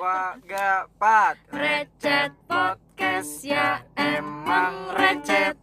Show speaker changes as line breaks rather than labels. Wagapat
Recet podcast ya emang recet